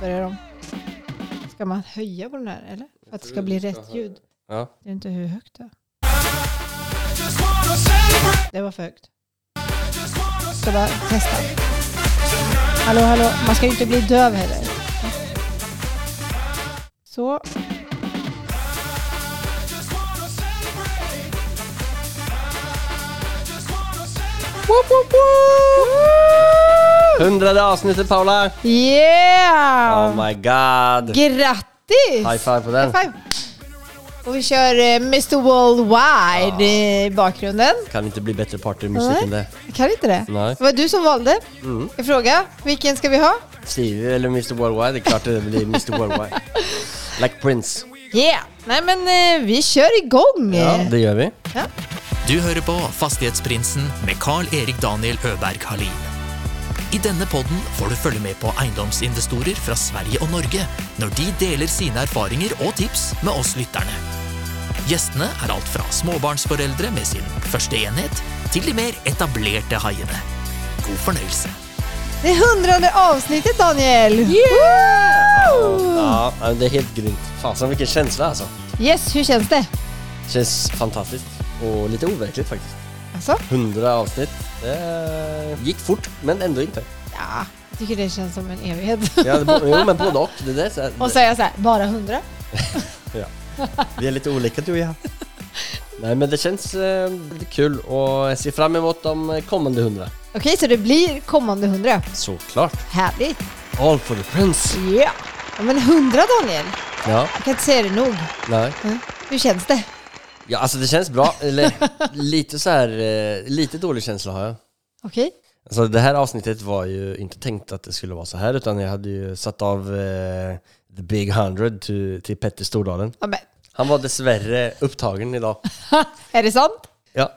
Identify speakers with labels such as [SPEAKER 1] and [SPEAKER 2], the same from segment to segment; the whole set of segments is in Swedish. [SPEAKER 1] börjar de. Ska man höja på den här eller? För att det ska bli rätt ljud.
[SPEAKER 2] Ja.
[SPEAKER 1] Det är inte hur högt det är. Det var för högt. Ska bara testa. Hallå, hallå. Man ska ju inte bli döv heller. Så. Woop, woop, woop!
[SPEAKER 2] Hundrade avsnittet Paula!
[SPEAKER 1] Yeah!
[SPEAKER 2] Oh my god!
[SPEAKER 1] Grattis!
[SPEAKER 2] High five på den.
[SPEAKER 1] High five. Och vi kör eh, Mr Worldwide i bakgrunden.
[SPEAKER 2] Kan inte bli bättre partymusik än det.
[SPEAKER 1] Jag kan inte det.
[SPEAKER 2] Nej. Mm.
[SPEAKER 1] Det var du som valde. Jag fråga, vilken ska vi ha?
[SPEAKER 2] Stevie eller Mr Worldwide, det är klart det blir Mr Worldwide. Like Prince.
[SPEAKER 1] Yeah! Nej men eh, vi kör igång!
[SPEAKER 2] Ja, det gör vi.
[SPEAKER 1] Ja. Mm.
[SPEAKER 3] Du hører på Fastighetsprinsen med Carl-Erik Daniel Øberg Halin. I denne podden får du følge med på eiendomsinvestorer fra Sverige og Norge når de deler sine erfaringer og tips med oss lytterne. Gjestene er alt fra småbarnsforeldre med sin første enhet, til de mer etablerte haiene. God fornøyelse.
[SPEAKER 1] Det hundrade avsnittet Daniel! Woo!
[SPEAKER 2] Ja, men det är helt grymt. Fasen vilken känsla alltså.
[SPEAKER 1] Yes, hur känns det?
[SPEAKER 2] Känns fantastiskt. Och lite overkligt faktiskt.
[SPEAKER 1] Alltså?
[SPEAKER 2] 100 avsnitt. Det gick fort, men ändå inte.
[SPEAKER 1] Ja, jag tycker det känns som en evighet.
[SPEAKER 2] Ja, det- jo, men både och. Det där, är så här-
[SPEAKER 1] Och säga så här, bara hundra?
[SPEAKER 2] Ja. Vi är lite olika du och jag. Nej men det känns eh, lite kul och jag ser fram emot de kommande hundra.
[SPEAKER 1] Okej, så det blir kommande hundra.
[SPEAKER 2] Såklart.
[SPEAKER 1] Härligt!
[SPEAKER 2] All for the prince.
[SPEAKER 1] Yeah. Ja! Men hundra Daniel,
[SPEAKER 2] Ja,
[SPEAKER 1] jag kan inte säga det nog.
[SPEAKER 2] nej.
[SPEAKER 1] Mm. Hur känns det?
[SPEAKER 2] Ja alltså det känns bra, eller lite så här, eh, lite dålig känsla har jag.
[SPEAKER 1] Okej?
[SPEAKER 2] Alltså det här avsnittet var ju inte tänkt att det skulle vara så här utan jag hade ju satt av eh, the big hundred till, till Petter Stordalen.
[SPEAKER 1] Ja, men,
[SPEAKER 2] Han var dessvärre upptagen idag.
[SPEAKER 1] är det sant?
[SPEAKER 2] Ja,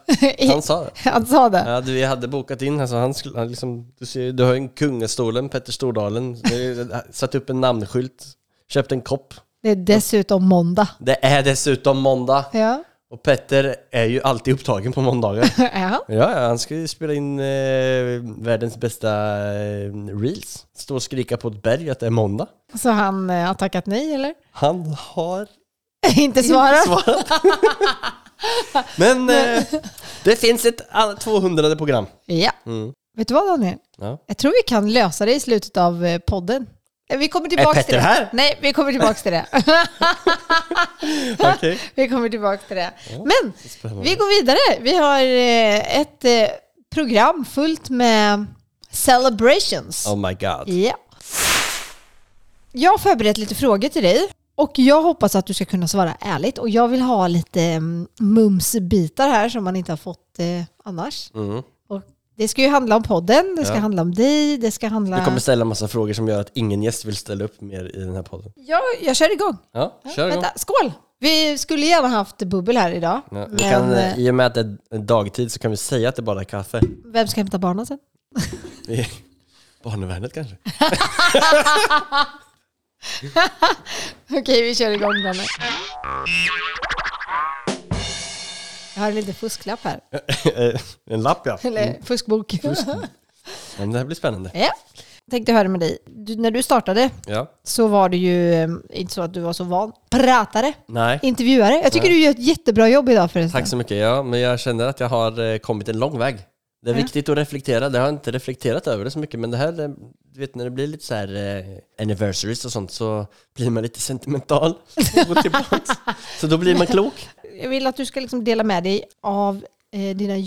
[SPEAKER 2] han sa det.
[SPEAKER 1] Han sa det?
[SPEAKER 2] Ja, du, vi hade bokat in, alltså han skulle, han liksom, du, ser, ju, du har ju en kungastolen, Petter Stordalen, Du har satt upp en namnskylt, köpt en kopp.
[SPEAKER 1] Det är dessutom måndag.
[SPEAKER 2] Det är dessutom måndag
[SPEAKER 1] Ja.
[SPEAKER 2] och Petter är ju alltid upptagen på måndagar.
[SPEAKER 1] är han?
[SPEAKER 2] Ja, ja, han ska ju spela in eh, världens bästa eh, reels. Stå och skrika på ett berg att det är måndag.
[SPEAKER 1] Så han eh, har tackat nej eller?
[SPEAKER 2] Han har
[SPEAKER 1] Inte svarat?
[SPEAKER 2] svarat. Men eh, det finns ett all- 200 program.
[SPEAKER 1] Ja.
[SPEAKER 2] Mm.
[SPEAKER 1] Vet du vad Daniel?
[SPEAKER 2] Ja.
[SPEAKER 1] Jag tror vi kan lösa det i slutet av eh, podden. Eh, Vi kommer tillbaka till
[SPEAKER 2] Petter
[SPEAKER 1] det.
[SPEAKER 2] här?
[SPEAKER 1] Nej, vi kommer tillbaka till det.
[SPEAKER 2] Okej.
[SPEAKER 1] vi kommer tillbaka till det. Men
[SPEAKER 2] Spännande.
[SPEAKER 1] vi går vidare. Vi har eh, ett eh, program fullt med celebrations.
[SPEAKER 2] Oh my god.
[SPEAKER 1] Ja. Jag har förberett lite frågor till dig och jag hoppas att du ska kunna svara ärligt och jag vill ha lite mm, mumsbitar här som man inte har fått eh, annars.
[SPEAKER 2] Mm.
[SPEAKER 1] Och det ska ju handla om podden, det ska
[SPEAKER 2] Ja.
[SPEAKER 1] handla om dig, det ska handla...
[SPEAKER 2] Du kommer ställa massa frågor som gör att ingen gäst vill ställa upp mer i den här podden.
[SPEAKER 1] Ja, jag kör igång.
[SPEAKER 2] Ja, kör igång.
[SPEAKER 1] Vänta, skål! Vi skulle gärna haft bubbel här idag.
[SPEAKER 2] Ja, vi
[SPEAKER 1] men
[SPEAKER 2] kan, eh,
[SPEAKER 1] eh,
[SPEAKER 2] I och med att det är en dagtid så kan vi säga att det bara är kaffe.
[SPEAKER 1] vem ska hämta barnen sen?
[SPEAKER 2] I Barnevärnet kanske?
[SPEAKER 1] Okej, vi kör igång den. Jag har en liten fusklapp här.
[SPEAKER 2] Eh, en lapp ja. Mm.
[SPEAKER 1] Eller fuskbok.
[SPEAKER 2] Men det här blir spännande.
[SPEAKER 1] Ja. Tänkte höra med dig. Du, när du startade
[SPEAKER 2] Ja.
[SPEAKER 1] så var det ju eh, inte så att du var så van pratare,
[SPEAKER 2] Nej,
[SPEAKER 1] intervjuare. Jag tycker
[SPEAKER 2] Nej.
[SPEAKER 1] du gör ett jättebra jobb idag förresten.
[SPEAKER 2] tack så mycket. Ja, men jag känner att jag har eh, kommit en lång väg. Det är
[SPEAKER 1] Ja.
[SPEAKER 2] viktigt att reflektera. Det har jag inte reflekterat över det så mycket, men det här, eh, du vet när det blir lite så här eh, anniversaries och sånt så blir man lite sentimental och går tillbaks. så då blir man klok.
[SPEAKER 1] Jag vill att du ska liksom dela med dig av eh, dina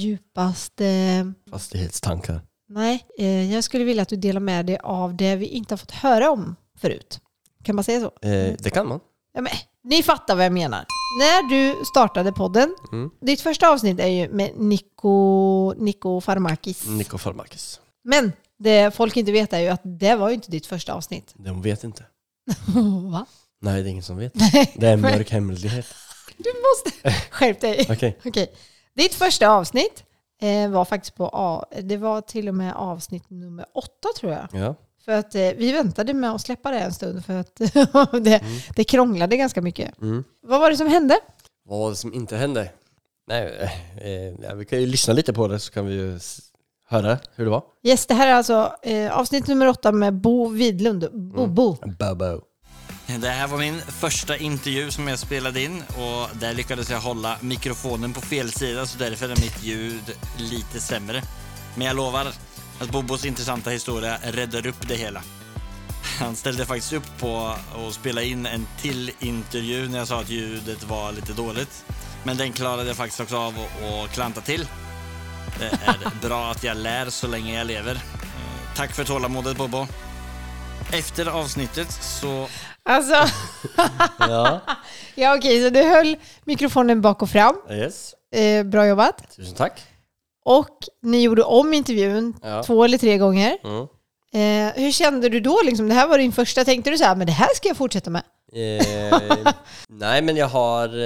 [SPEAKER 1] djupaste...
[SPEAKER 2] Fastighetstankar.
[SPEAKER 1] Nej, eh, jag skulle vilja att du delar med dig av det vi inte har fått höra om förut. Kan man säga så?
[SPEAKER 2] Eh, det kan man.
[SPEAKER 1] Ja, men, ni fattar vad jag menar. När du startade podden,
[SPEAKER 2] Mm.
[SPEAKER 1] ditt första avsnitt är ju med Nico, Nico Farmakis.
[SPEAKER 2] Niko Farmakis.
[SPEAKER 1] Men det folk inte vet är ju att det var ju inte ditt första avsnitt.
[SPEAKER 2] De vet inte.
[SPEAKER 1] Va?
[SPEAKER 2] Nej, det är ingen som vet.
[SPEAKER 1] Nej,
[SPEAKER 2] Det är en
[SPEAKER 1] men-
[SPEAKER 2] mörk hemlighet.
[SPEAKER 1] Du måste skärp dig.
[SPEAKER 2] Okej.
[SPEAKER 1] Okej. Ditt första avsnitt eh, var faktiskt på A. Det var till och med avsnitt nummer åtta tror jag.
[SPEAKER 2] Ja.
[SPEAKER 1] För att eh, vi väntade med att släppa det en stund för att det, det krånglade ganska mycket.
[SPEAKER 2] Mm.
[SPEAKER 1] Vad var det som hände?
[SPEAKER 2] Vad som inte hände? Nej, eh, eh, ja, vi kan ju lyssna lite på det så kan vi ju s- höra hur det var.
[SPEAKER 1] Yes, det här är alltså eh, avsnitt nummer åtta med Bo Vidlund. Bobo.
[SPEAKER 2] Mm. Bobo.
[SPEAKER 4] Det här var min första intervju som jag spelade in och där lyckades jag hålla mikrofonen på fel sida så därför är mitt ljud lite sämre. Men jag lovar att Bobos intressanta historia räddar upp det hela. Han ställde faktiskt upp på att spela in en till intervju när jag sa att ljudet var lite dåligt. Men den klarade jag faktiskt också av att klanta till. Det är bra att jag lär så länge jag lever. Eh, Tack för tålamodet Bobo. Efter avsnittet så
[SPEAKER 1] Alltså,
[SPEAKER 2] Ja,
[SPEAKER 1] ja okej, så du höll mikrofonen bak och fram.
[SPEAKER 2] yes.
[SPEAKER 1] Eh, bra jobbat.
[SPEAKER 2] Tusen tack.
[SPEAKER 1] Och ni gjorde om intervjun
[SPEAKER 2] Ja.
[SPEAKER 1] två eller tre gånger.
[SPEAKER 2] Mm.
[SPEAKER 1] Eh, hur kände du då? Liksom, det här var din första. Tänkte du så här, men det här ska jag fortsätta med?
[SPEAKER 2] Eh, nej men jag har, eh,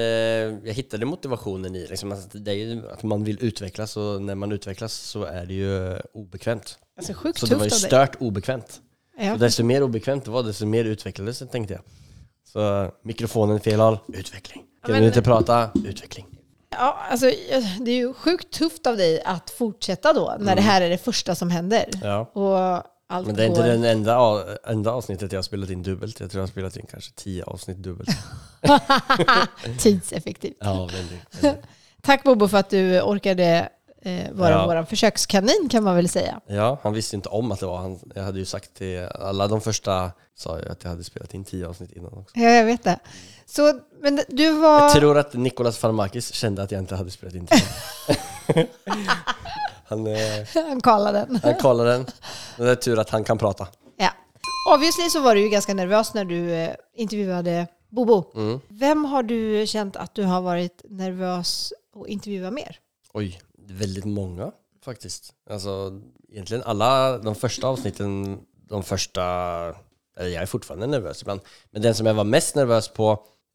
[SPEAKER 2] jag hittade motivationen i liksom, att det är ju att man vill utvecklas och när man utvecklas så är det ju obekvämt.
[SPEAKER 1] Alltså sjukt
[SPEAKER 2] Så det var ju
[SPEAKER 1] tufft av dig.
[SPEAKER 2] stört obekvämt.
[SPEAKER 1] Ja.
[SPEAKER 2] Och desto mer obekvämt det var, desto mer utvecklades det tänkte jag. Så mikrofonen fel håll, utveckling. Kan
[SPEAKER 1] men-
[SPEAKER 2] du inte prata, utveckling.
[SPEAKER 1] Ja, alltså, det är ju sjukt tufft av dig att fortsätta då, när det här är det första som händer.
[SPEAKER 2] Mm. Ja.
[SPEAKER 1] Och allt
[SPEAKER 2] Men det är
[SPEAKER 1] går...
[SPEAKER 2] inte den enda, a- enda avsnittet jag har spelat in dubbelt. Jag tror jag har spelat in kanske tio avsnitt dubbelt.
[SPEAKER 1] Tidseffektivt.
[SPEAKER 2] ja, väldigt. väldigt.
[SPEAKER 1] Tack Bobo för att du orkade eh, vara
[SPEAKER 2] Ja.
[SPEAKER 1] vår försökskanin kan man väl säga.
[SPEAKER 2] Ja, han visste inte om att det var han. Jag hade ju sagt till alla de första, sa jag att jag hade spelat in tio avsnitt innan också.
[SPEAKER 1] Ja, jag vet det. Så, men du
[SPEAKER 2] Jag
[SPEAKER 1] var...
[SPEAKER 2] tror att Nicolas Farmakis kände att jag inte hade spelat in tio. han, eh,
[SPEAKER 1] Han kallade den.
[SPEAKER 2] han kollade den. Men det är tur att han kan prata.
[SPEAKER 1] Ja. Obviously så var du ju ganska nervös när du eh, intervjuade Bobo.
[SPEAKER 2] Mm.
[SPEAKER 1] Vem har du känt att du har varit nervös att intervjua mer?
[SPEAKER 2] Oj, väldigt många faktiskt. Alltså egentligen alla de första avsnitten, de första, eller jag är fortfarande nervös ibland, men den som jag var mest nervös på,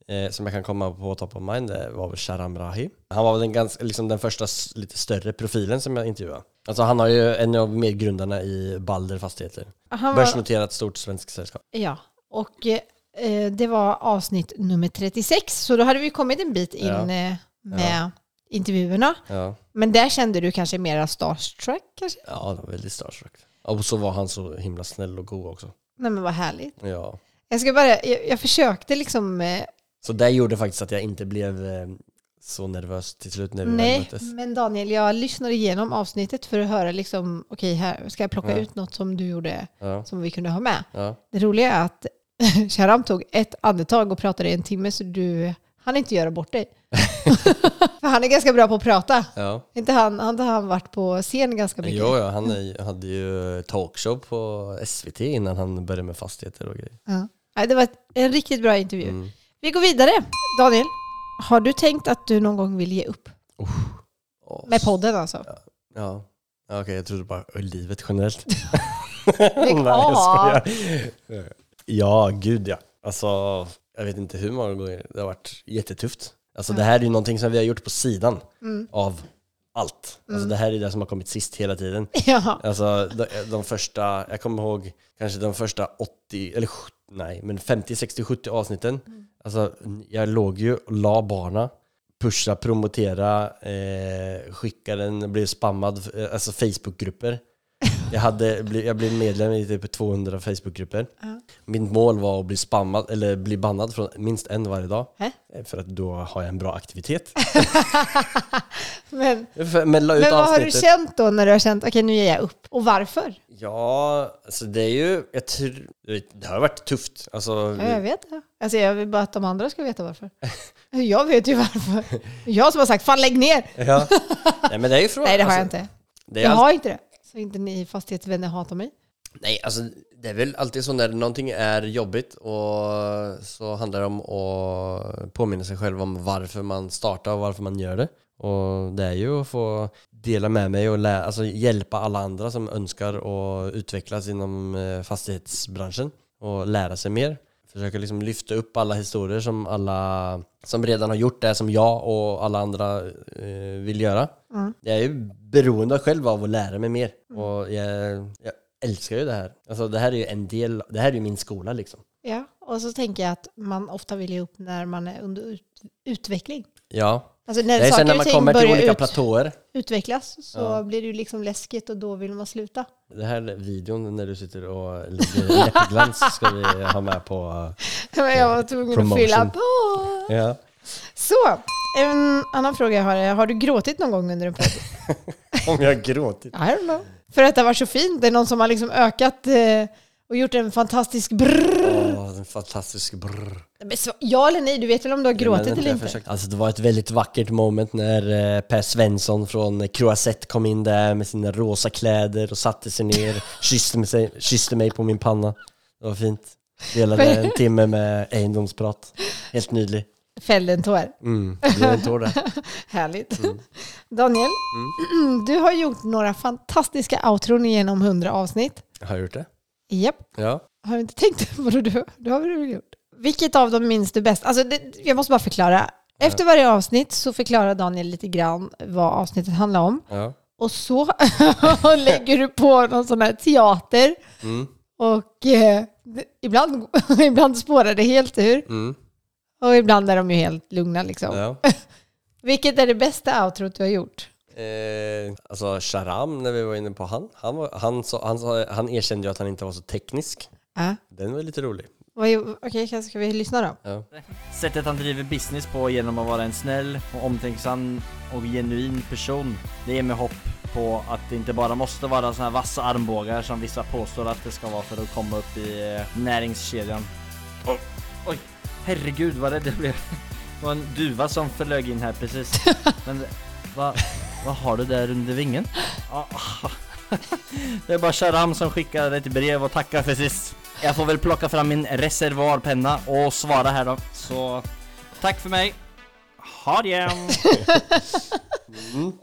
[SPEAKER 2] eh, som jag kan komma på top of mind, det var väl Sharam Rahi. Han var väl den, ganska, liksom den första s- lite större profilen som jag intervjuade. Alltså han har ju en av medgrundarna i Balder Fastigheter.
[SPEAKER 1] Han var,
[SPEAKER 2] Börsnoterat stort svenskt sällskap.
[SPEAKER 1] ja, och eh, det var avsnitt nummer 36, så då hade vi kommit en bit in
[SPEAKER 2] Ja.
[SPEAKER 1] eh, med intervjuerna.
[SPEAKER 2] Ja,
[SPEAKER 1] Men där kände du kanske mera starstruck kanske?
[SPEAKER 2] ja det var väldigt starstruck. Och så var han så himla snäll och god också.
[SPEAKER 1] Nej men vad härligt.
[SPEAKER 2] Ja.
[SPEAKER 1] Jag ska bara, jag, jag försökte liksom, eh,
[SPEAKER 2] Så det gjorde faktiskt att jag inte blev eh, så nervös till slut när vi väl
[SPEAKER 1] nej,
[SPEAKER 2] möttes.
[SPEAKER 1] men Daniel, jag lyssnade igenom avsnittet för att höra liksom, okej, här ska jag plocka
[SPEAKER 2] Ja.
[SPEAKER 1] ut något som du gjorde
[SPEAKER 2] Ja,
[SPEAKER 1] som vi kunde ha med.
[SPEAKER 2] ja.
[SPEAKER 1] Det roliga är att Sharam tog ett andetag och pratade i en timme så du hann inte göra bort dig. för han är ganska bra på att prata.
[SPEAKER 2] ja.
[SPEAKER 1] Inte han, han har han varit på scen ganska mycket.
[SPEAKER 2] Jo, ja, han är- hade ju talkshow på SVT innan han började med fastigheter och grejer.
[SPEAKER 1] Ja. Nej, det var ett- en riktigt bra intervju.
[SPEAKER 2] Mm.
[SPEAKER 1] Vi går vidare. Daniel, har du tänkt att du någon gång vill ge upp?
[SPEAKER 2] Åh,
[SPEAKER 1] Med podden alltså?
[SPEAKER 2] Ja. Ja, Okej, jag trodde bara ö, livet generellt.
[SPEAKER 1] Lägg
[SPEAKER 2] jag
[SPEAKER 1] av.
[SPEAKER 2] skojar. Ja, gud ja. Alltså, jag vet inte hur många gånger. Det har varit jättetufft. Alltså
[SPEAKER 1] Mm.
[SPEAKER 2] det här är ju någonting som vi har gjort på sidan av allt. Alltså
[SPEAKER 1] Mm.
[SPEAKER 2] det här är det som har kommit sist hela tiden.
[SPEAKER 1] Ja.
[SPEAKER 2] Alltså de, de första, jag kommer ihåg kanske de första 80, eller sj- nej, men 50, 60, 70 avsnitten.
[SPEAKER 1] Mm.
[SPEAKER 2] Alltså jag låg ju och la barna, pusha, promotera, eh, skicka den, blev spammad, eh, alltså Facebookgrupper. Jag, hade, bli- jag blev medlem i typ 200 Facebookgrupper.
[SPEAKER 1] Ja.
[SPEAKER 2] Mitt mål var att bli spammad, eller bli bannad från minst en varje dag.
[SPEAKER 1] Hä?
[SPEAKER 2] Eh, För att då har jag en bra aktivitet.
[SPEAKER 1] Men,
[SPEAKER 2] För- Men la ut
[SPEAKER 1] men vad har du
[SPEAKER 2] avsnittet.
[SPEAKER 1] känt då när du har känt, okej nu ger jag upp. Och varför?
[SPEAKER 2] Ja, alltså det är ju, jag tror, det har varit tufft. Alltså,
[SPEAKER 1] Ja, jag vet det. Alltså, jag vill bara att de andra ska veta varför. Jag vet ju varför. Jag som har sagt, fan lägg ner!
[SPEAKER 2] ja. Nej men det är ju frågan.
[SPEAKER 1] Nej, det har jag
[SPEAKER 2] alltså,
[SPEAKER 1] inte.
[SPEAKER 2] Det är
[SPEAKER 1] Jag
[SPEAKER 2] allt-
[SPEAKER 1] har inte det. Så inte ni fastighetsvänner hatar mig.
[SPEAKER 2] Nej, alltså det är väl alltid så när någonting är jobbigt och så handlar det om att påminna sig själv om varför man startar och varför man gör det. Och det är ju att få dela med mig och lä- alltså, hjälpa alla andra som önskar och utvecklas inom eh, fastighetsbranschen och lära sig mer. Försöka liksom lyfta upp alla historier som alla som redan har gjort det som jag och alla andra eh, vill göra.
[SPEAKER 1] Mm.
[SPEAKER 2] Jag är ju beroende själv av att lära mig mer. Och jag, jag älskar ju det här. Alltså det här är ju en del, det här är ju min skola liksom.
[SPEAKER 1] Ja, och så tänker jag att man ofta vill ge upp när man är under ut utveckling.
[SPEAKER 2] Ja,
[SPEAKER 1] Alltså när
[SPEAKER 2] Nej,
[SPEAKER 1] saker
[SPEAKER 2] sen när
[SPEAKER 1] och
[SPEAKER 2] man
[SPEAKER 1] ting
[SPEAKER 2] kommer till
[SPEAKER 1] börjar
[SPEAKER 2] olika
[SPEAKER 1] ut,
[SPEAKER 2] platåer.
[SPEAKER 1] utvecklas så
[SPEAKER 2] Ja.
[SPEAKER 1] blir det ju liksom läskigt och då vill man sluta.
[SPEAKER 2] Den här videon när du sitter och ligger i läppglans ska vi ha med på...
[SPEAKER 1] Men jag var tvungen att fylla
[SPEAKER 2] Promotion.
[SPEAKER 1] på.
[SPEAKER 2] Ja.
[SPEAKER 1] Så, en annan fråga jag har är, har du gråtit någon gång under en podd?
[SPEAKER 2] Om jag har gråtit.
[SPEAKER 1] I don't know. För att det har varit så fint. Det är någon som har liksom ökat eh, och gjort en fantastisk brrrr.
[SPEAKER 2] Åh, en fantastisk brrr.
[SPEAKER 1] Men så- Ja eller nej, du vet väl om du har
[SPEAKER 2] Men
[SPEAKER 1] gråtit
[SPEAKER 2] vänta,
[SPEAKER 1] eller
[SPEAKER 2] jag
[SPEAKER 1] inte?
[SPEAKER 2] försökte- Alltså det var ett väldigt vackert moment när eh, Per Svensson från Croisette kom in där med sina rosa kläder och satte sig ner, kysste mig, sig- kysste mig på min panna. Det var fint. Delade en timme med egendomsprat. Helt nydlig.
[SPEAKER 1] Fällde en tår.
[SPEAKER 2] Mm, det blev en tår där.
[SPEAKER 1] Härligt.
[SPEAKER 2] Mm.
[SPEAKER 1] Daniel, du har gjort några fantastiska outron genom 100 avsnitt.
[SPEAKER 2] Har jag gjort det?
[SPEAKER 1] Japp.
[SPEAKER 2] Ja.
[SPEAKER 1] Har du inte tänkt på det? Du, det har du väl gjort? Vilket av dem minns du bäst? Alltså det, jag måste bara förklara. Efter varje avsnitt så förklarar Daniel lite grann vad avsnittet handlar om.
[SPEAKER 2] ja.
[SPEAKER 1] Och så lägger du på någon sån här teater.
[SPEAKER 2] Mm,
[SPEAKER 1] Och eh, det- ibland, ibland spårar det helt ur.
[SPEAKER 2] mm,
[SPEAKER 1] Och ibland är de ju helt lugna liksom.
[SPEAKER 2] ja.
[SPEAKER 1] Vilket är det bästa outrot du har gjort?
[SPEAKER 2] Eh, alltså Sharam, när vi var inne på han, han, var, han, sa, han, sa, han erkände ju att han inte var så teknisk.
[SPEAKER 1] Ja.
[SPEAKER 2] Den var lite rolig.
[SPEAKER 1] Vad gjo- Okej, kanske ska vi lyssna då?
[SPEAKER 2] Ja.
[SPEAKER 4] Sättet han driver business på genom att vara en snäll och omtänksam och genuin person. Det ger mig hopp på att det inte bara måste vara såna här vassa armbågar som vissa påstår att det ska vara för att komma upp i eh, näringskedjan. Oj, oj, herregud vad rädd jag blev. Det var en duva som flög in här precis. Men vad vad har du där under vingen? Ah, ah. Det är bara Sharam som skickar ett brev och tackar för sist. Jag får väl plocka fram min reservoarpenna och svara här då. Så tack för mig. Ha det!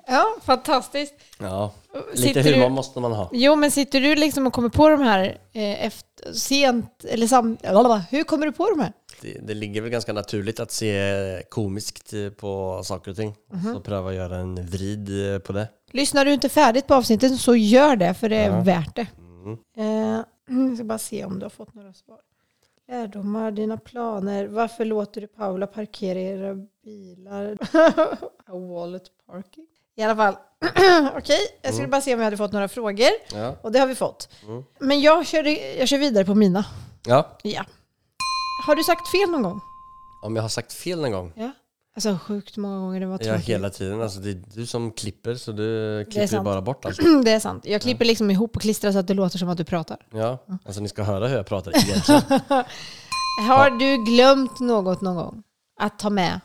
[SPEAKER 1] Ja, fantastiskt.
[SPEAKER 2] ja. Lite
[SPEAKER 1] Sitter
[SPEAKER 2] humor
[SPEAKER 1] du,
[SPEAKER 2] måste man ha.
[SPEAKER 1] jo, men sitter du liksom och kommer på de här eh, efter, sent eller sam, blablabla. Hur kommer du på de här?
[SPEAKER 2] det, det ligger väl ganska naturligt att se komiskt eh, på saker och ting.
[SPEAKER 1] Mhm.
[SPEAKER 2] Så pröva göra en vrid eh, på det.
[SPEAKER 1] Lyssnar du inte färdigt på avsnittet så gör det, för det är
[SPEAKER 2] Ja.
[SPEAKER 1] värt det.
[SPEAKER 2] Mm.
[SPEAKER 1] Eh, jag ska bara se om du har fått några svar. Lärdomar, dina planer. Varför låter du Paula parkera era bilar? Wallet parking. I alla fall. Okej, jag skulle bara se om jag hade fått några frågor.
[SPEAKER 2] Mm. Ja.
[SPEAKER 1] Och det har vi fått.
[SPEAKER 2] Mm.
[SPEAKER 1] Men jag kör, jag kör vidare på mina.
[SPEAKER 2] ja.
[SPEAKER 1] Ja. Har du sagt fel någon gång?
[SPEAKER 2] Om jag har sagt fel någon gång?
[SPEAKER 1] Ja. Alltså sjukt många gånger. Det var
[SPEAKER 2] Ja,
[SPEAKER 1] tråkigt.
[SPEAKER 2] hela tiden. Alltså, det är du som klipper så du
[SPEAKER 1] Det är
[SPEAKER 2] klipper ju
[SPEAKER 1] sant.
[SPEAKER 2] bara bort alltså. allt.
[SPEAKER 1] Det är sant. Jag klipper liksom ihop och klistrar så att det låter som att du pratar.
[SPEAKER 2] Ja. Alltså ni ska höra hur jag pratar egentligen.
[SPEAKER 1] Har du glömt något någon gång? Att ta med?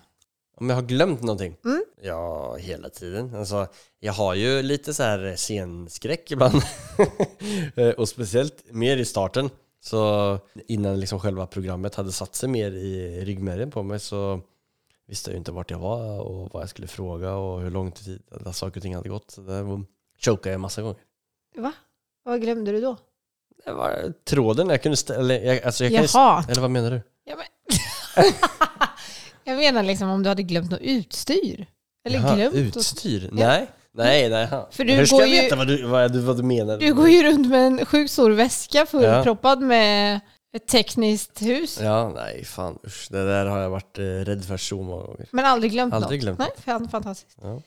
[SPEAKER 2] Om jag har glömt någonting?
[SPEAKER 1] Mm.
[SPEAKER 2] Ja, hela tiden. Alltså, jag har ju lite så här scenskräck ibland. Eh, och speciellt mer i starten. Så innan liksom själva programmet hade satt sig mer i ryggmärgen på mig så visste jag ju inte vart jag var och vad jag skulle fråga och hur lång tid alla saker och ting hade gått. Så där var- chokade jag massa gånger.
[SPEAKER 1] Va? Vad glömde du då?
[SPEAKER 2] Det var tråden jag kunde ställa... Jag, alltså jag kan ju-
[SPEAKER 1] Jaha.
[SPEAKER 2] eller vad menar du?
[SPEAKER 1] Ja, men... jag menar liksom om du hade glömt något utstyr. Eller
[SPEAKER 2] Jaha,
[SPEAKER 1] glömt att...
[SPEAKER 2] Utstyr? Nej. Nej, nej.
[SPEAKER 1] För du
[SPEAKER 2] Hur ska
[SPEAKER 1] går
[SPEAKER 2] jag
[SPEAKER 1] ju-
[SPEAKER 2] veta vad du, vad, du, vad du menar?
[SPEAKER 1] Du går ju runt med en sjukt stor väska fullproppad med ett tekniskt hus.
[SPEAKER 2] Ja, nej fan usch. Det där har jag varit eh, rädd för så många gånger.
[SPEAKER 1] Men aldrig glömt
[SPEAKER 2] Aldrig
[SPEAKER 1] något.
[SPEAKER 2] glömt
[SPEAKER 1] Nej, fan, fantastiskt.
[SPEAKER 2] Ja.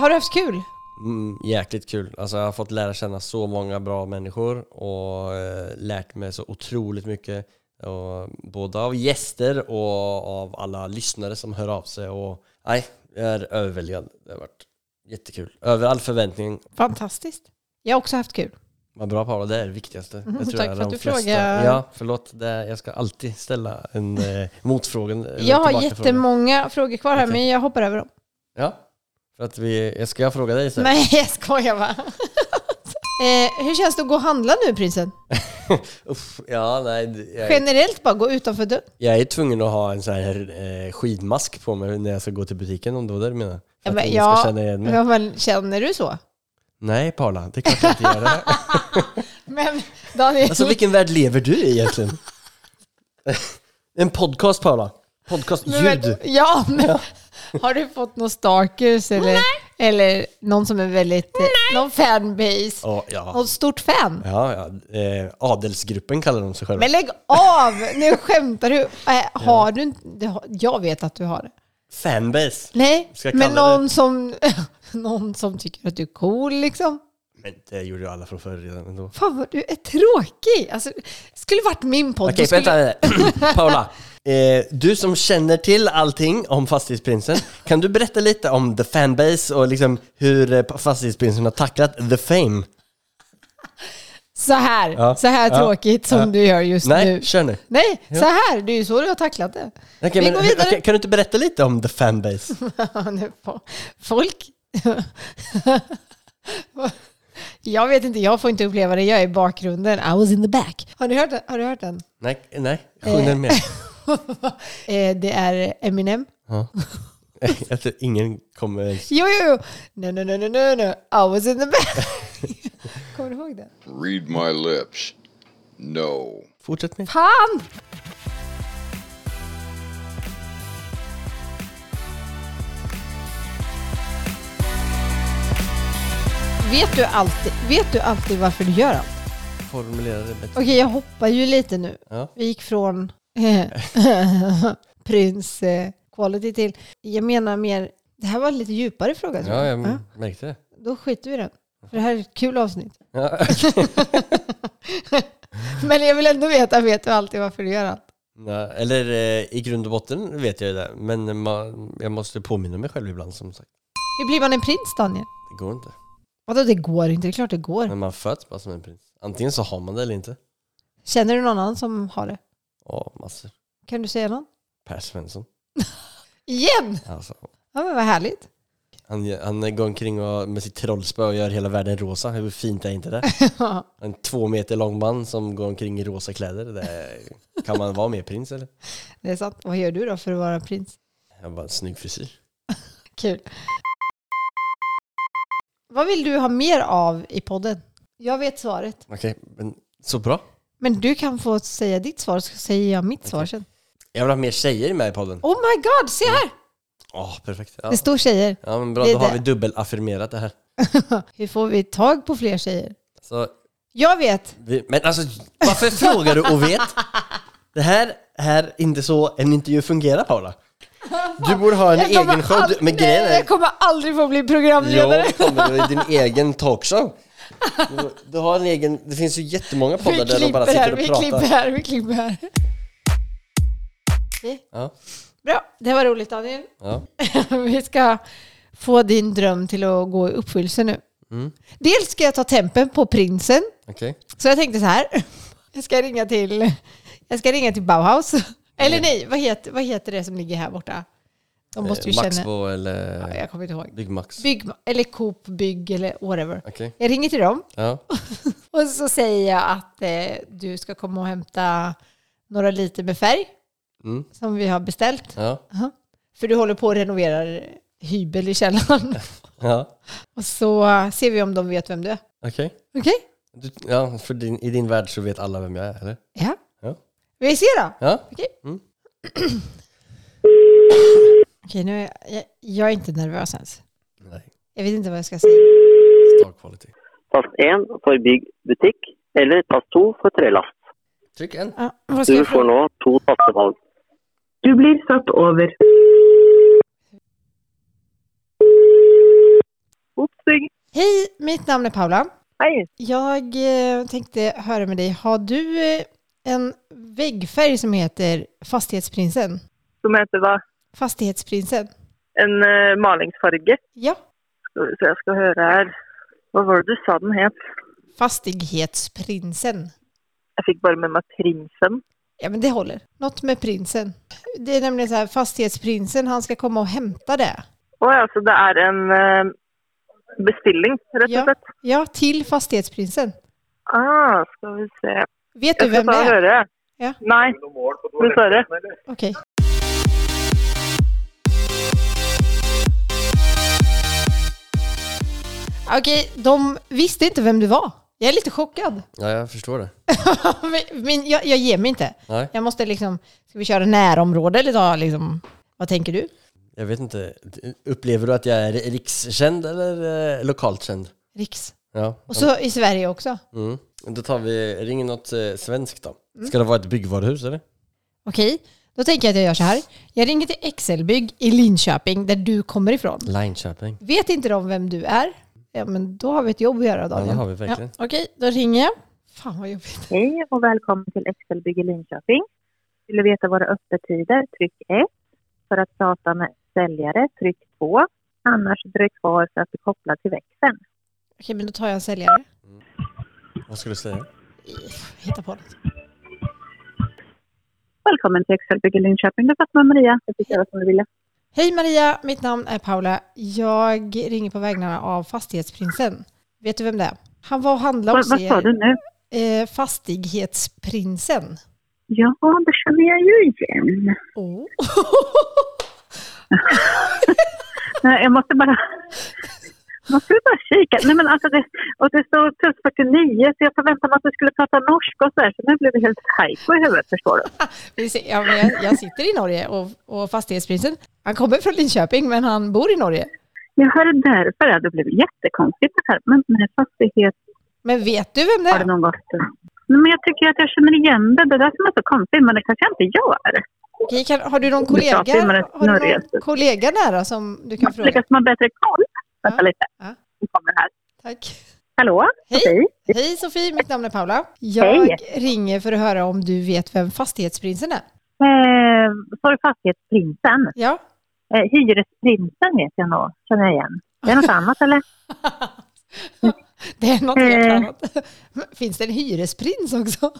[SPEAKER 1] Har du haft kul?
[SPEAKER 2] Mm, jäkligt kul. Alltså, jag har fått lära känna så många bra människor och eh, lärt mig så otroligt mycket. Och, både av gäster och av alla lyssnare som hör av sig. Och, nej, jag är överväldigad. Det har varit jättekul. Över all förväntning.
[SPEAKER 1] Fantastiskt. Jag har också haft kul.
[SPEAKER 2] Vad bra Paula, det är det viktigaste. jag
[SPEAKER 1] Mhm, tack
[SPEAKER 2] är
[SPEAKER 1] för att
[SPEAKER 2] de
[SPEAKER 1] du frågar.
[SPEAKER 2] Ja, förlåt. Det, jag ska alltid ställa en eh, motfråga. eller
[SPEAKER 1] Jag har
[SPEAKER 2] tillbakafråga.
[SPEAKER 1] jättemånga frågor kvar här,
[SPEAKER 2] Okej.
[SPEAKER 1] men jag hoppar över dem.
[SPEAKER 2] Ja, för att vi... Jag ska fråga dig sen.
[SPEAKER 1] Nej, jag skojar bara. eh, hur känns det att gå och handla nu, prinsen?
[SPEAKER 2] Uff, ja, nej, det- jag, är-
[SPEAKER 1] Generellt bara gå utanför dörren.
[SPEAKER 2] jag är tvungen att ha en sån här eh, skidmask på mig när jag ska gå till butiken om det var det du menar. För
[SPEAKER 1] Ja,
[SPEAKER 2] att
[SPEAKER 1] men
[SPEAKER 2] ingen
[SPEAKER 1] ja,
[SPEAKER 2] ska känna igen mig.
[SPEAKER 1] ja, men känner du så?
[SPEAKER 2] Nej, Paula, det är klart jag inte gör det.
[SPEAKER 1] Men Daniel,
[SPEAKER 2] Alltså vilken värld lever du i egentligen? en podcast, Paula. Podcast,
[SPEAKER 1] men,
[SPEAKER 2] ljud.
[SPEAKER 1] Ja, men har du fått någon stalkers eller, eller någon som är väldigt, eh, någon fanbase?
[SPEAKER 2] Ja, ja.
[SPEAKER 1] Något stort fan?
[SPEAKER 2] ja, ja. Eh, adelsgruppen kallar de sig själva.
[SPEAKER 1] Men lägg av! Nu skämtar du. Äh, har du inte? det har- Jag vet att du har det.
[SPEAKER 2] Fanbase.
[SPEAKER 1] Nej,
[SPEAKER 2] Ska jag
[SPEAKER 1] men
[SPEAKER 2] kalla det-
[SPEAKER 1] någon som, någon som tycker att du är cool liksom.
[SPEAKER 2] Men det gjorde ju alla från förr redan ändå.
[SPEAKER 1] Fan vad du är tråkig. Alltså, skulle varit min podd.
[SPEAKER 2] Okej,
[SPEAKER 1] då skulle...
[SPEAKER 2] vänta. Paula, eh, du som känner till allting om Fastighetsprinsen, kan du berätta lite om the fanbase och liksom hur eh, Fastighetsprinsen har tacklat the fame?
[SPEAKER 1] Så här,
[SPEAKER 2] Ja,
[SPEAKER 1] så här
[SPEAKER 2] ja,
[SPEAKER 1] tråkigt som
[SPEAKER 2] ja.
[SPEAKER 1] du gör just
[SPEAKER 2] Nej,
[SPEAKER 1] nu.
[SPEAKER 2] kör nu.
[SPEAKER 1] Nej, så här. Det är ju så du har tacklat det.
[SPEAKER 2] Okej,
[SPEAKER 1] Vi
[SPEAKER 2] men,
[SPEAKER 1] går vidare.
[SPEAKER 2] okej, kan du inte berätta lite om the fanbase?
[SPEAKER 1] Nu på- Folk... jag vet inte, jag får inte uppleva det. Jag är i bakgrunden. I was in the back. Har du hört den? Har du hört den?
[SPEAKER 2] nej, nej, sjung den mer.
[SPEAKER 1] Eh, det är Eminem.
[SPEAKER 2] Ja. Jag tror ingen kommer ens...
[SPEAKER 1] Jo, jo, jo. No, no, no, no, no, no. I was in the back. Kommer du ihåg den?
[SPEAKER 5] Read my lips. No.
[SPEAKER 2] Fortsätt med.
[SPEAKER 1] Fan! Vet du, alltid, vet du alltid varför du gör allt?
[SPEAKER 2] Formulera det bättre.
[SPEAKER 1] Okej, jag hoppar ju lite nu.
[SPEAKER 2] Ja.
[SPEAKER 1] Vi gick från eh, prins eh, quality till... Jag menar mer... Det här var en lite djupare fråga. tror
[SPEAKER 2] Ja, jag
[SPEAKER 1] Ja,
[SPEAKER 2] märkte det.
[SPEAKER 1] Då skiter vi i den. För det här är ett kul avsnitt.
[SPEAKER 2] Ja.
[SPEAKER 1] Men jag vill ändå veta, vet du alltid varför du gör allt?
[SPEAKER 2] Nej, eller eh, i grund och botten vet jag det, men man, jag måste påminna mig själv ibland som sagt.
[SPEAKER 1] Hur blir man en prins, Daniel?
[SPEAKER 2] Det går inte.
[SPEAKER 1] Vadå, det går inte? Det är klart det går.
[SPEAKER 2] Men man föds bara som en prins. Antingen så har man det eller inte.
[SPEAKER 1] Känner du någon annan som har det?
[SPEAKER 2] Ja, massor.
[SPEAKER 1] Kan du säga någon?
[SPEAKER 2] Per Svensson.
[SPEAKER 1] Igen!
[SPEAKER 2] Alltså,
[SPEAKER 1] Ja, men vad härligt.
[SPEAKER 2] han, han går omkring och, med sitt trollspö och gör hela världen rosa. Hur fint är inte det? En två meter lång man som går omkring i rosa kläder. Det är, kan man vara mer prins eller?
[SPEAKER 1] Det är sant. Vad gör du då för att vara prins?
[SPEAKER 2] Jag har bara en snygg frisyr.
[SPEAKER 1] Kul. Vad vill du ha mer av i podden? Jag vet svaret.
[SPEAKER 2] Okej, men så bra.
[SPEAKER 1] Men du kan få säga ditt svar, så säger jag mitt svar sen.
[SPEAKER 2] Jag vill ha mer tjejer med i podden.
[SPEAKER 1] Oh my god, se här!
[SPEAKER 2] Åh, perfekt. Ja.
[SPEAKER 1] Det står tjejer.
[SPEAKER 2] ja, men bra.
[SPEAKER 1] det
[SPEAKER 2] Då har
[SPEAKER 1] är
[SPEAKER 2] vi
[SPEAKER 1] det.
[SPEAKER 2] dubbelaffirmerat det här.
[SPEAKER 1] Hur får vi tag på fler tjejer?
[SPEAKER 2] Så
[SPEAKER 1] Jag vet!
[SPEAKER 2] Vi, men alltså, varför frågar du och vet? Det här är inte så en intervju fungerar Paula. Du borde ha en
[SPEAKER 1] Jag kommer
[SPEAKER 2] egen show. Du, men
[SPEAKER 1] aldrig-
[SPEAKER 2] grejen
[SPEAKER 1] Nej,
[SPEAKER 2] är...
[SPEAKER 1] jag kommer aldrig få bli programledare.
[SPEAKER 2] Jo, Paula, det är din egen talkshow. Du, du har en egen... Det finns ju jättemånga poddar där de bara sitter och
[SPEAKER 1] vi
[SPEAKER 2] pratar.
[SPEAKER 1] klipper här, vi klipper här. Okej.
[SPEAKER 2] Ja,
[SPEAKER 1] Bra, det var roligt Daniel.
[SPEAKER 2] ja.
[SPEAKER 1] vi ska få din dröm till att gå i uppfyllelse nu.
[SPEAKER 2] Mm.
[SPEAKER 1] Dels ska jag ta tempen på prinsen.
[SPEAKER 2] Okej.
[SPEAKER 1] Så jag tänkte så här. Jag ska ringa till, jag ska ringa till Bauhaus.
[SPEAKER 2] Mm.
[SPEAKER 1] Eller nej, vad heter, vad heter det som ligger här borta? De måste ju
[SPEAKER 2] Eh,
[SPEAKER 1] känna...
[SPEAKER 2] Maxbo eller
[SPEAKER 1] Ja, Jag kommer inte ihåg.
[SPEAKER 2] Byggmax.
[SPEAKER 1] Bygg, eller Coop, Bygg eller whatever.
[SPEAKER 2] Okej.
[SPEAKER 1] Jag ringer till dem.
[SPEAKER 2] Ja.
[SPEAKER 1] Och så säger jag att eh, du ska komma och hämta några liter med färg
[SPEAKER 2] Mm.
[SPEAKER 1] som vi har beställt.
[SPEAKER 2] Ja.
[SPEAKER 1] Aha. För du håller på och renoverar hybel i källaren.
[SPEAKER 2] Ja.
[SPEAKER 1] och så eh, ser vi om de vet vem du är.
[SPEAKER 2] Okej.
[SPEAKER 1] Okej?
[SPEAKER 2] Du- Ja, för din, i din värld så vet alla vem jag är, eller?
[SPEAKER 1] Ja.
[SPEAKER 2] Ja.
[SPEAKER 1] Vi ser då.
[SPEAKER 2] Ja.
[SPEAKER 1] Okej.
[SPEAKER 2] Mm.
[SPEAKER 1] Okej, nu är jag, jag, jag är inte nervös ens.
[SPEAKER 2] Nej.
[SPEAKER 1] Jag vet inte vad jag ska säga.
[SPEAKER 2] Star quality.
[SPEAKER 6] Tast 1 for bygg butikk, eller tast 2 for trelast.
[SPEAKER 2] Tryck en.
[SPEAKER 1] Ja, vad ska
[SPEAKER 6] Du
[SPEAKER 1] jag
[SPEAKER 6] får
[SPEAKER 1] fråga?
[SPEAKER 6] nå to tastevalg.
[SPEAKER 7] Du blir satt over. Oppsig.
[SPEAKER 1] Hej, mitt namn är Paula.
[SPEAKER 7] Hei.
[SPEAKER 1] Jag eh, tänkte höra med dig. Har du eh, en väggfärg som heter Fastighetsprinsen?
[SPEAKER 7] Som heter hva?
[SPEAKER 1] Fastighetsprinsen?
[SPEAKER 7] En eh, malingsfarge.
[SPEAKER 1] Ja.
[SPEAKER 7] Skal vi se, jeg skal høre her. Hva var det du sa den het?
[SPEAKER 1] Fastighetsprinsen.
[SPEAKER 7] Jeg fikk bare med meg Prinsen.
[SPEAKER 1] Ja, men det håller. Något med prinsen. Det är nämligen så här, fastighetsprinsen, han ska komma och hämta det.
[SPEAKER 7] Å ja, så det er en eh, bestilling, rett
[SPEAKER 1] Ja.
[SPEAKER 7] og slett.
[SPEAKER 1] Ja, till fastighetsprinsen.
[SPEAKER 7] Ah, skal vi se.
[SPEAKER 1] Vet du
[SPEAKER 7] Jeg
[SPEAKER 1] vem
[SPEAKER 7] skal
[SPEAKER 1] det
[SPEAKER 7] ta og
[SPEAKER 1] är?
[SPEAKER 7] høre.
[SPEAKER 1] Ja.
[SPEAKER 7] Nei, dessverre.
[SPEAKER 1] Okej. Okej, de visste inte vem du var. Jag är lite chockad.
[SPEAKER 2] Ja, jag förstår det.
[SPEAKER 1] Men jag, jag ger mig inte.
[SPEAKER 2] Nej.
[SPEAKER 1] Jag måste liksom, ska vi köra närområde eller ta liksom, vad tänker du?
[SPEAKER 2] Jag vet inte. Upplever du att jag är rikskänd eller eh, lokalt känd?
[SPEAKER 1] Riks.
[SPEAKER 2] Ja.
[SPEAKER 1] Och så i Sverige också.
[SPEAKER 2] Mm. Då tar vi, ring något eh, svenskt då. Ska det vara ett byggvaruhus eller?
[SPEAKER 1] Okej, Då tänker jag att jag gör så här. Jag ringer till Excelbygg i Linköping, där du kommer ifrån.
[SPEAKER 2] Linköping.
[SPEAKER 1] Vet inte de vem du är? Ja, men då har vi ett jobb att göra, Daniel.
[SPEAKER 2] Ja, det har vi verkligen.
[SPEAKER 1] Ja, Okej, då ringer jag. Fan vad jobbigt.
[SPEAKER 7] Hej och välkommen till Excelbygg i Linköping. Vill du veta våra öppettider? Tryck 1. För att prata med säljare, tryck 2. Annars dröj kvar för att bli kopplad till växeln.
[SPEAKER 1] Okej, men då tar jag en säljare.
[SPEAKER 2] Vad ska du säga?
[SPEAKER 1] Hitta på något.
[SPEAKER 7] Välkommen till Excelbygg i Linköping. Du fattar med Maria. Jag fick göra som du ville.
[SPEAKER 1] Hej Maria, mitt namn är Paula. Jag ringer på vägnarna av Fastighetsprinsen. Vet du vem det är? Han var och handlade
[SPEAKER 7] Vad,
[SPEAKER 1] hos
[SPEAKER 7] vad sa
[SPEAKER 1] er.
[SPEAKER 7] du nu?
[SPEAKER 1] Eh, fastighetsprinsen.
[SPEAKER 7] Ja, det känner jag ju igen.
[SPEAKER 1] Oh.
[SPEAKER 7] Nej, jag måste bara... Måste du bara kika? Nej, men alltså det, och det står plus 49 så jag förväntade mig att du skulle prata norska och sådär så nu blev det helt hajko i huvudet förstår du.
[SPEAKER 1] Vi ser- ja, men jag, jag sitter i Norge och, och Fastighetsprinsen, han kommer från Linköping men han bor i Norge.
[SPEAKER 7] Jag hörde därför att det blev jättekonstigt det här. Men med fastighet
[SPEAKER 1] Men vet du vem det
[SPEAKER 7] har det
[SPEAKER 1] är?
[SPEAKER 7] nog gått. Nej, men jag tycker att jag känner igen det. Det är det som är så konstigt men det kanske jag inte gör.
[SPEAKER 1] Okej, kan, har du någon
[SPEAKER 7] Vi
[SPEAKER 1] kollega,
[SPEAKER 7] pratar ju med den
[SPEAKER 1] har du någon
[SPEAKER 7] norröster.
[SPEAKER 1] kollega nära som du kan
[SPEAKER 7] Man lyckas
[SPEAKER 1] fråga?
[SPEAKER 7] man bättre koll. Vänta
[SPEAKER 1] Ja,
[SPEAKER 7] lite.
[SPEAKER 1] ja.
[SPEAKER 7] Nu kommer här.
[SPEAKER 1] Tack.
[SPEAKER 7] Hallå?
[SPEAKER 1] Hej.
[SPEAKER 7] Sofie?
[SPEAKER 1] Hej Sofie, mitt namn är Paula. Jag
[SPEAKER 7] Hej.
[SPEAKER 1] ringer för att höra om du vet vem Fastighetsprinsen är.
[SPEAKER 7] Eh, Sa du fastighetsprinsen?
[SPEAKER 1] Ja,
[SPEAKER 7] Eh, Hyresprinsen vet jag nog, känner jag igen. Det är något annat eller?
[SPEAKER 1] det är något helt
[SPEAKER 7] Eh.
[SPEAKER 1] annat. Finns det en hyresprins också?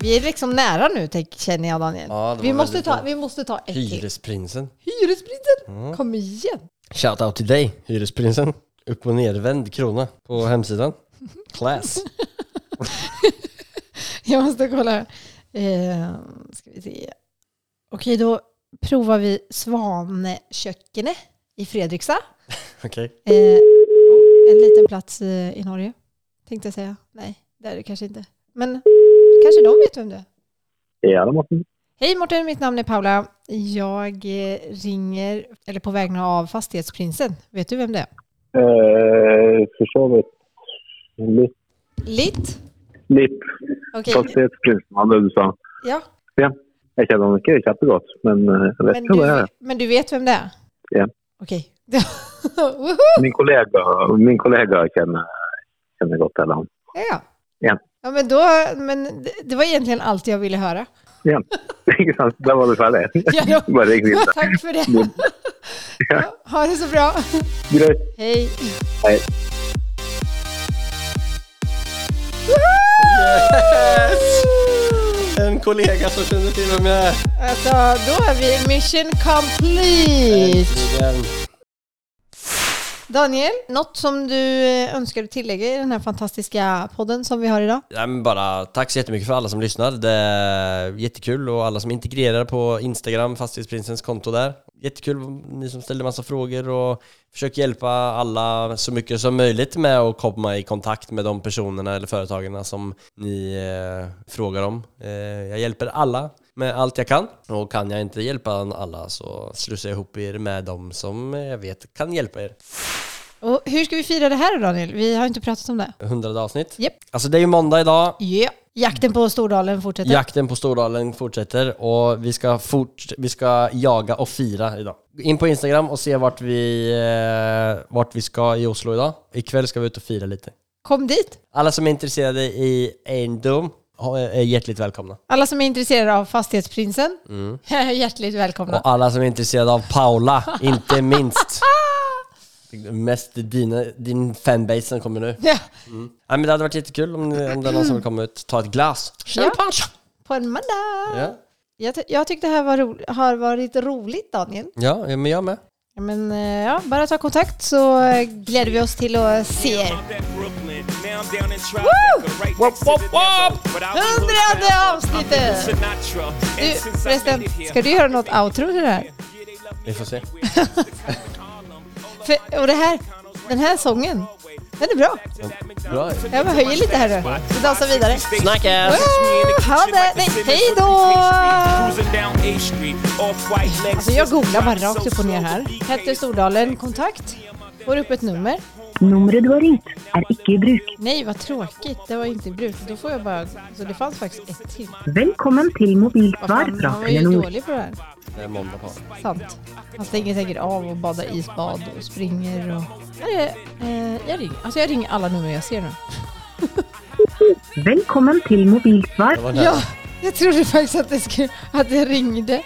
[SPEAKER 1] Vi är liksom nära nu, tänk- känner jag Daniel.
[SPEAKER 2] Ja, det var
[SPEAKER 1] vi, måste
[SPEAKER 2] väldigt
[SPEAKER 1] ta,
[SPEAKER 2] bra. Mm.
[SPEAKER 1] vi måste ta ett till.
[SPEAKER 2] Hyresprinsen.
[SPEAKER 1] Hyresprinsen! Kom igen!
[SPEAKER 2] Shout out till dig, hyresprinsen. Upp och nervänd krona på hemsidan. Class.
[SPEAKER 1] Jag måste kolla. Eh, ska vi se. Okej, då provar vi Svankökene i Fredrikstad.
[SPEAKER 2] Okej.
[SPEAKER 1] Eh, oh, en liten plats eh, i Norge, tänkte jag säga. Nej, det är det kanske inte. Men kanske de vet vem det är.
[SPEAKER 8] Ja, det måste
[SPEAKER 1] Hej Morten, mitt namn är Paula. Jag eh, ringer, eller på vägen av Fastighetsprinsen. Vet du vem det är?
[SPEAKER 8] eh, försovit. Lipp,
[SPEAKER 1] Litt?
[SPEAKER 8] lipp
[SPEAKER 1] Okej,
[SPEAKER 8] fastighetsprinsen var det du sa.
[SPEAKER 1] ja.
[SPEAKER 8] Jag känner honom inte jättegott, men eh, jag vet
[SPEAKER 1] Men
[SPEAKER 8] inte vad det
[SPEAKER 1] du,
[SPEAKER 8] är.
[SPEAKER 1] men du vet vem det är?
[SPEAKER 8] Ja.
[SPEAKER 1] Okej.
[SPEAKER 8] Min kollega, min kollega känner, känner gott till honom.
[SPEAKER 1] Ja.
[SPEAKER 8] Ja.
[SPEAKER 1] Ja, men då, men det- det var egentligen allt jag ville höra.
[SPEAKER 8] Ja, inte sant? Där var du färdig.
[SPEAKER 1] Ja, ja.
[SPEAKER 8] Bara ring vidare.
[SPEAKER 1] Tack för det. Ja, Ha det så bra.
[SPEAKER 8] Gröt.
[SPEAKER 1] Hej.
[SPEAKER 8] Hej.
[SPEAKER 2] Yes! En kollega som känner till vem jag är.
[SPEAKER 1] Alltså, då är vi mission complete.
[SPEAKER 2] Äntligen.
[SPEAKER 1] Daniel, något som du eh, önskar tillägga i den här fantastiska podden som vi har idag?
[SPEAKER 2] Nej, men bara tack så jättemycket för alla som lyssnar. Det är jättekul och alla som integrerar på Instagram, Fastighetsprinsens konto där. Jättekul ni som ställde massa frågor och försök hjälpa alla så mycket som möjligt med att komma i kontakt med de personerna eller företagarna som ni eh, frågar om. Eh, jag hjälper alla med allt jag kan och kan jag inte hjälpa alla så slussar jag ihop er med de som jag vet kan hjälpa er.
[SPEAKER 1] Och hur ska vi fira det här då, Daniel? Vi har inte pratat om det.
[SPEAKER 2] 100 avsnitt.
[SPEAKER 1] Japp.
[SPEAKER 2] Alltså det är ju måndag idag.
[SPEAKER 1] Ja. Jakten på Stordalen fortsätter.
[SPEAKER 2] Jakten på Stordalen fortsätter och vi ska, fort, vi ska jaga och fira idag. In på Instagram och se vart vi, eh, vart vi ska i Oslo idag. Ikväll ska vi ut och fira lite.
[SPEAKER 1] Kom dit!
[SPEAKER 2] Alla som är intresserade i egendom ha- är hjärtligt välkomna.
[SPEAKER 1] Alla som är intresserade av Fastighetsprinsen, hjärtligt välkomna.
[SPEAKER 2] Och alla som är intresserade av Paula, inte minst. Mest dina, din fanbase som kommer nu.
[SPEAKER 1] Ja.
[SPEAKER 2] Ja, men det hade varit jättekul om, ni- om det är någon som vill komma ut. Ta ett glas.
[SPEAKER 1] Ja. På en måndag!
[SPEAKER 2] Ja,
[SPEAKER 1] Jag, ty- jag tyckte det här var ro- har varit roligt Daniel.
[SPEAKER 2] ja men jag med.
[SPEAKER 1] Ja, Men eh, ja, bara ta kontakt så eh, gläder vi oss till att se er.
[SPEAKER 9] Woo!
[SPEAKER 1] Hundrade avsnittet! Du förresten, ska du göra något outro till det här?
[SPEAKER 2] Vi får se.
[SPEAKER 1] För, och det här, den här sången, den är bra.
[SPEAKER 2] Bra.
[SPEAKER 1] Jag bara höjer lite här nu. Så dansar vi vidare.
[SPEAKER 2] Snacka!
[SPEAKER 1] Woo! Ha det! Nej, hej då! Alltså jag googlar bara rakt upp och ner här. Petter Stordalen, kontakt. Får upp ett nummer.
[SPEAKER 7] Numret du har ringt är icke i bruk.
[SPEAKER 1] Nej, vad tråkigt. Det var inte i bruk. Då får jag bara... Så det fanns faktiskt ett till.
[SPEAKER 7] Välkommen till
[SPEAKER 1] Vad fan, man var
[SPEAKER 7] mobilsvarpraten.
[SPEAKER 1] ju
[SPEAKER 7] Nummer-
[SPEAKER 1] dålig på det här.
[SPEAKER 2] Det är måndag på.
[SPEAKER 1] Sant. Han stänger säkert av och badar isbad och springer och... Nej, eh, jag, ringer. Alltså, jag ringer alla nummer jag ser nu.
[SPEAKER 7] Välkommen till mobilsvar.
[SPEAKER 2] Det var nära.
[SPEAKER 1] Ja, jag trodde faktiskt att, det skulle, att jag ringde